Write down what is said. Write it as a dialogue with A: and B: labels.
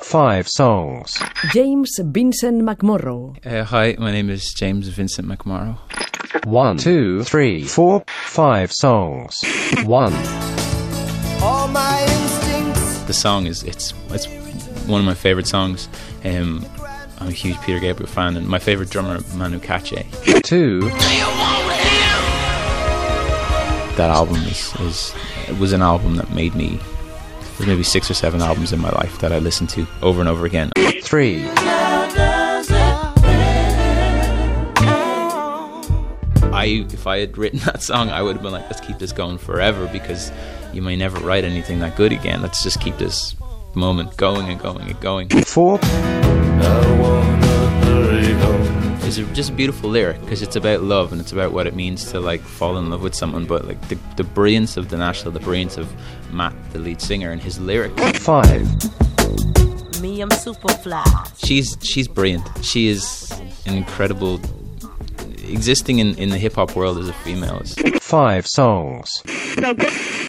A: five songs.
B: James Vincent McMorrow.
C: Uh, hi, my name is James Vincent McMorrow.
A: One, two, three, four, five songs. One,
D: All my instincts.
C: The song is it's it's one of my favorite songs. Um, I'm a huge Peter Gabriel fan, and my favorite drummer Manu Katché.
A: two,
C: That album is, is it was an album that made me. There's maybe six or seven albums in my life that I listened to over and over again.
A: three,
C: I, if I had written that song, I would have been like, let's keep this going forever because you may never write anything that good again. Let's just keep this moment going and going and going.
A: four,
C: It's a, just a beautiful lyric because it's about love and it's about what it means to like fall in love with someone. But like the, the brilliance of the national, the brilliance of Matt, the lead singer, and his lyric.
A: five,
E: Me, I'm super fly.
C: She's she's brilliant. She is an incredible. Existing in, in the hip hop world as a female is
A: five songs.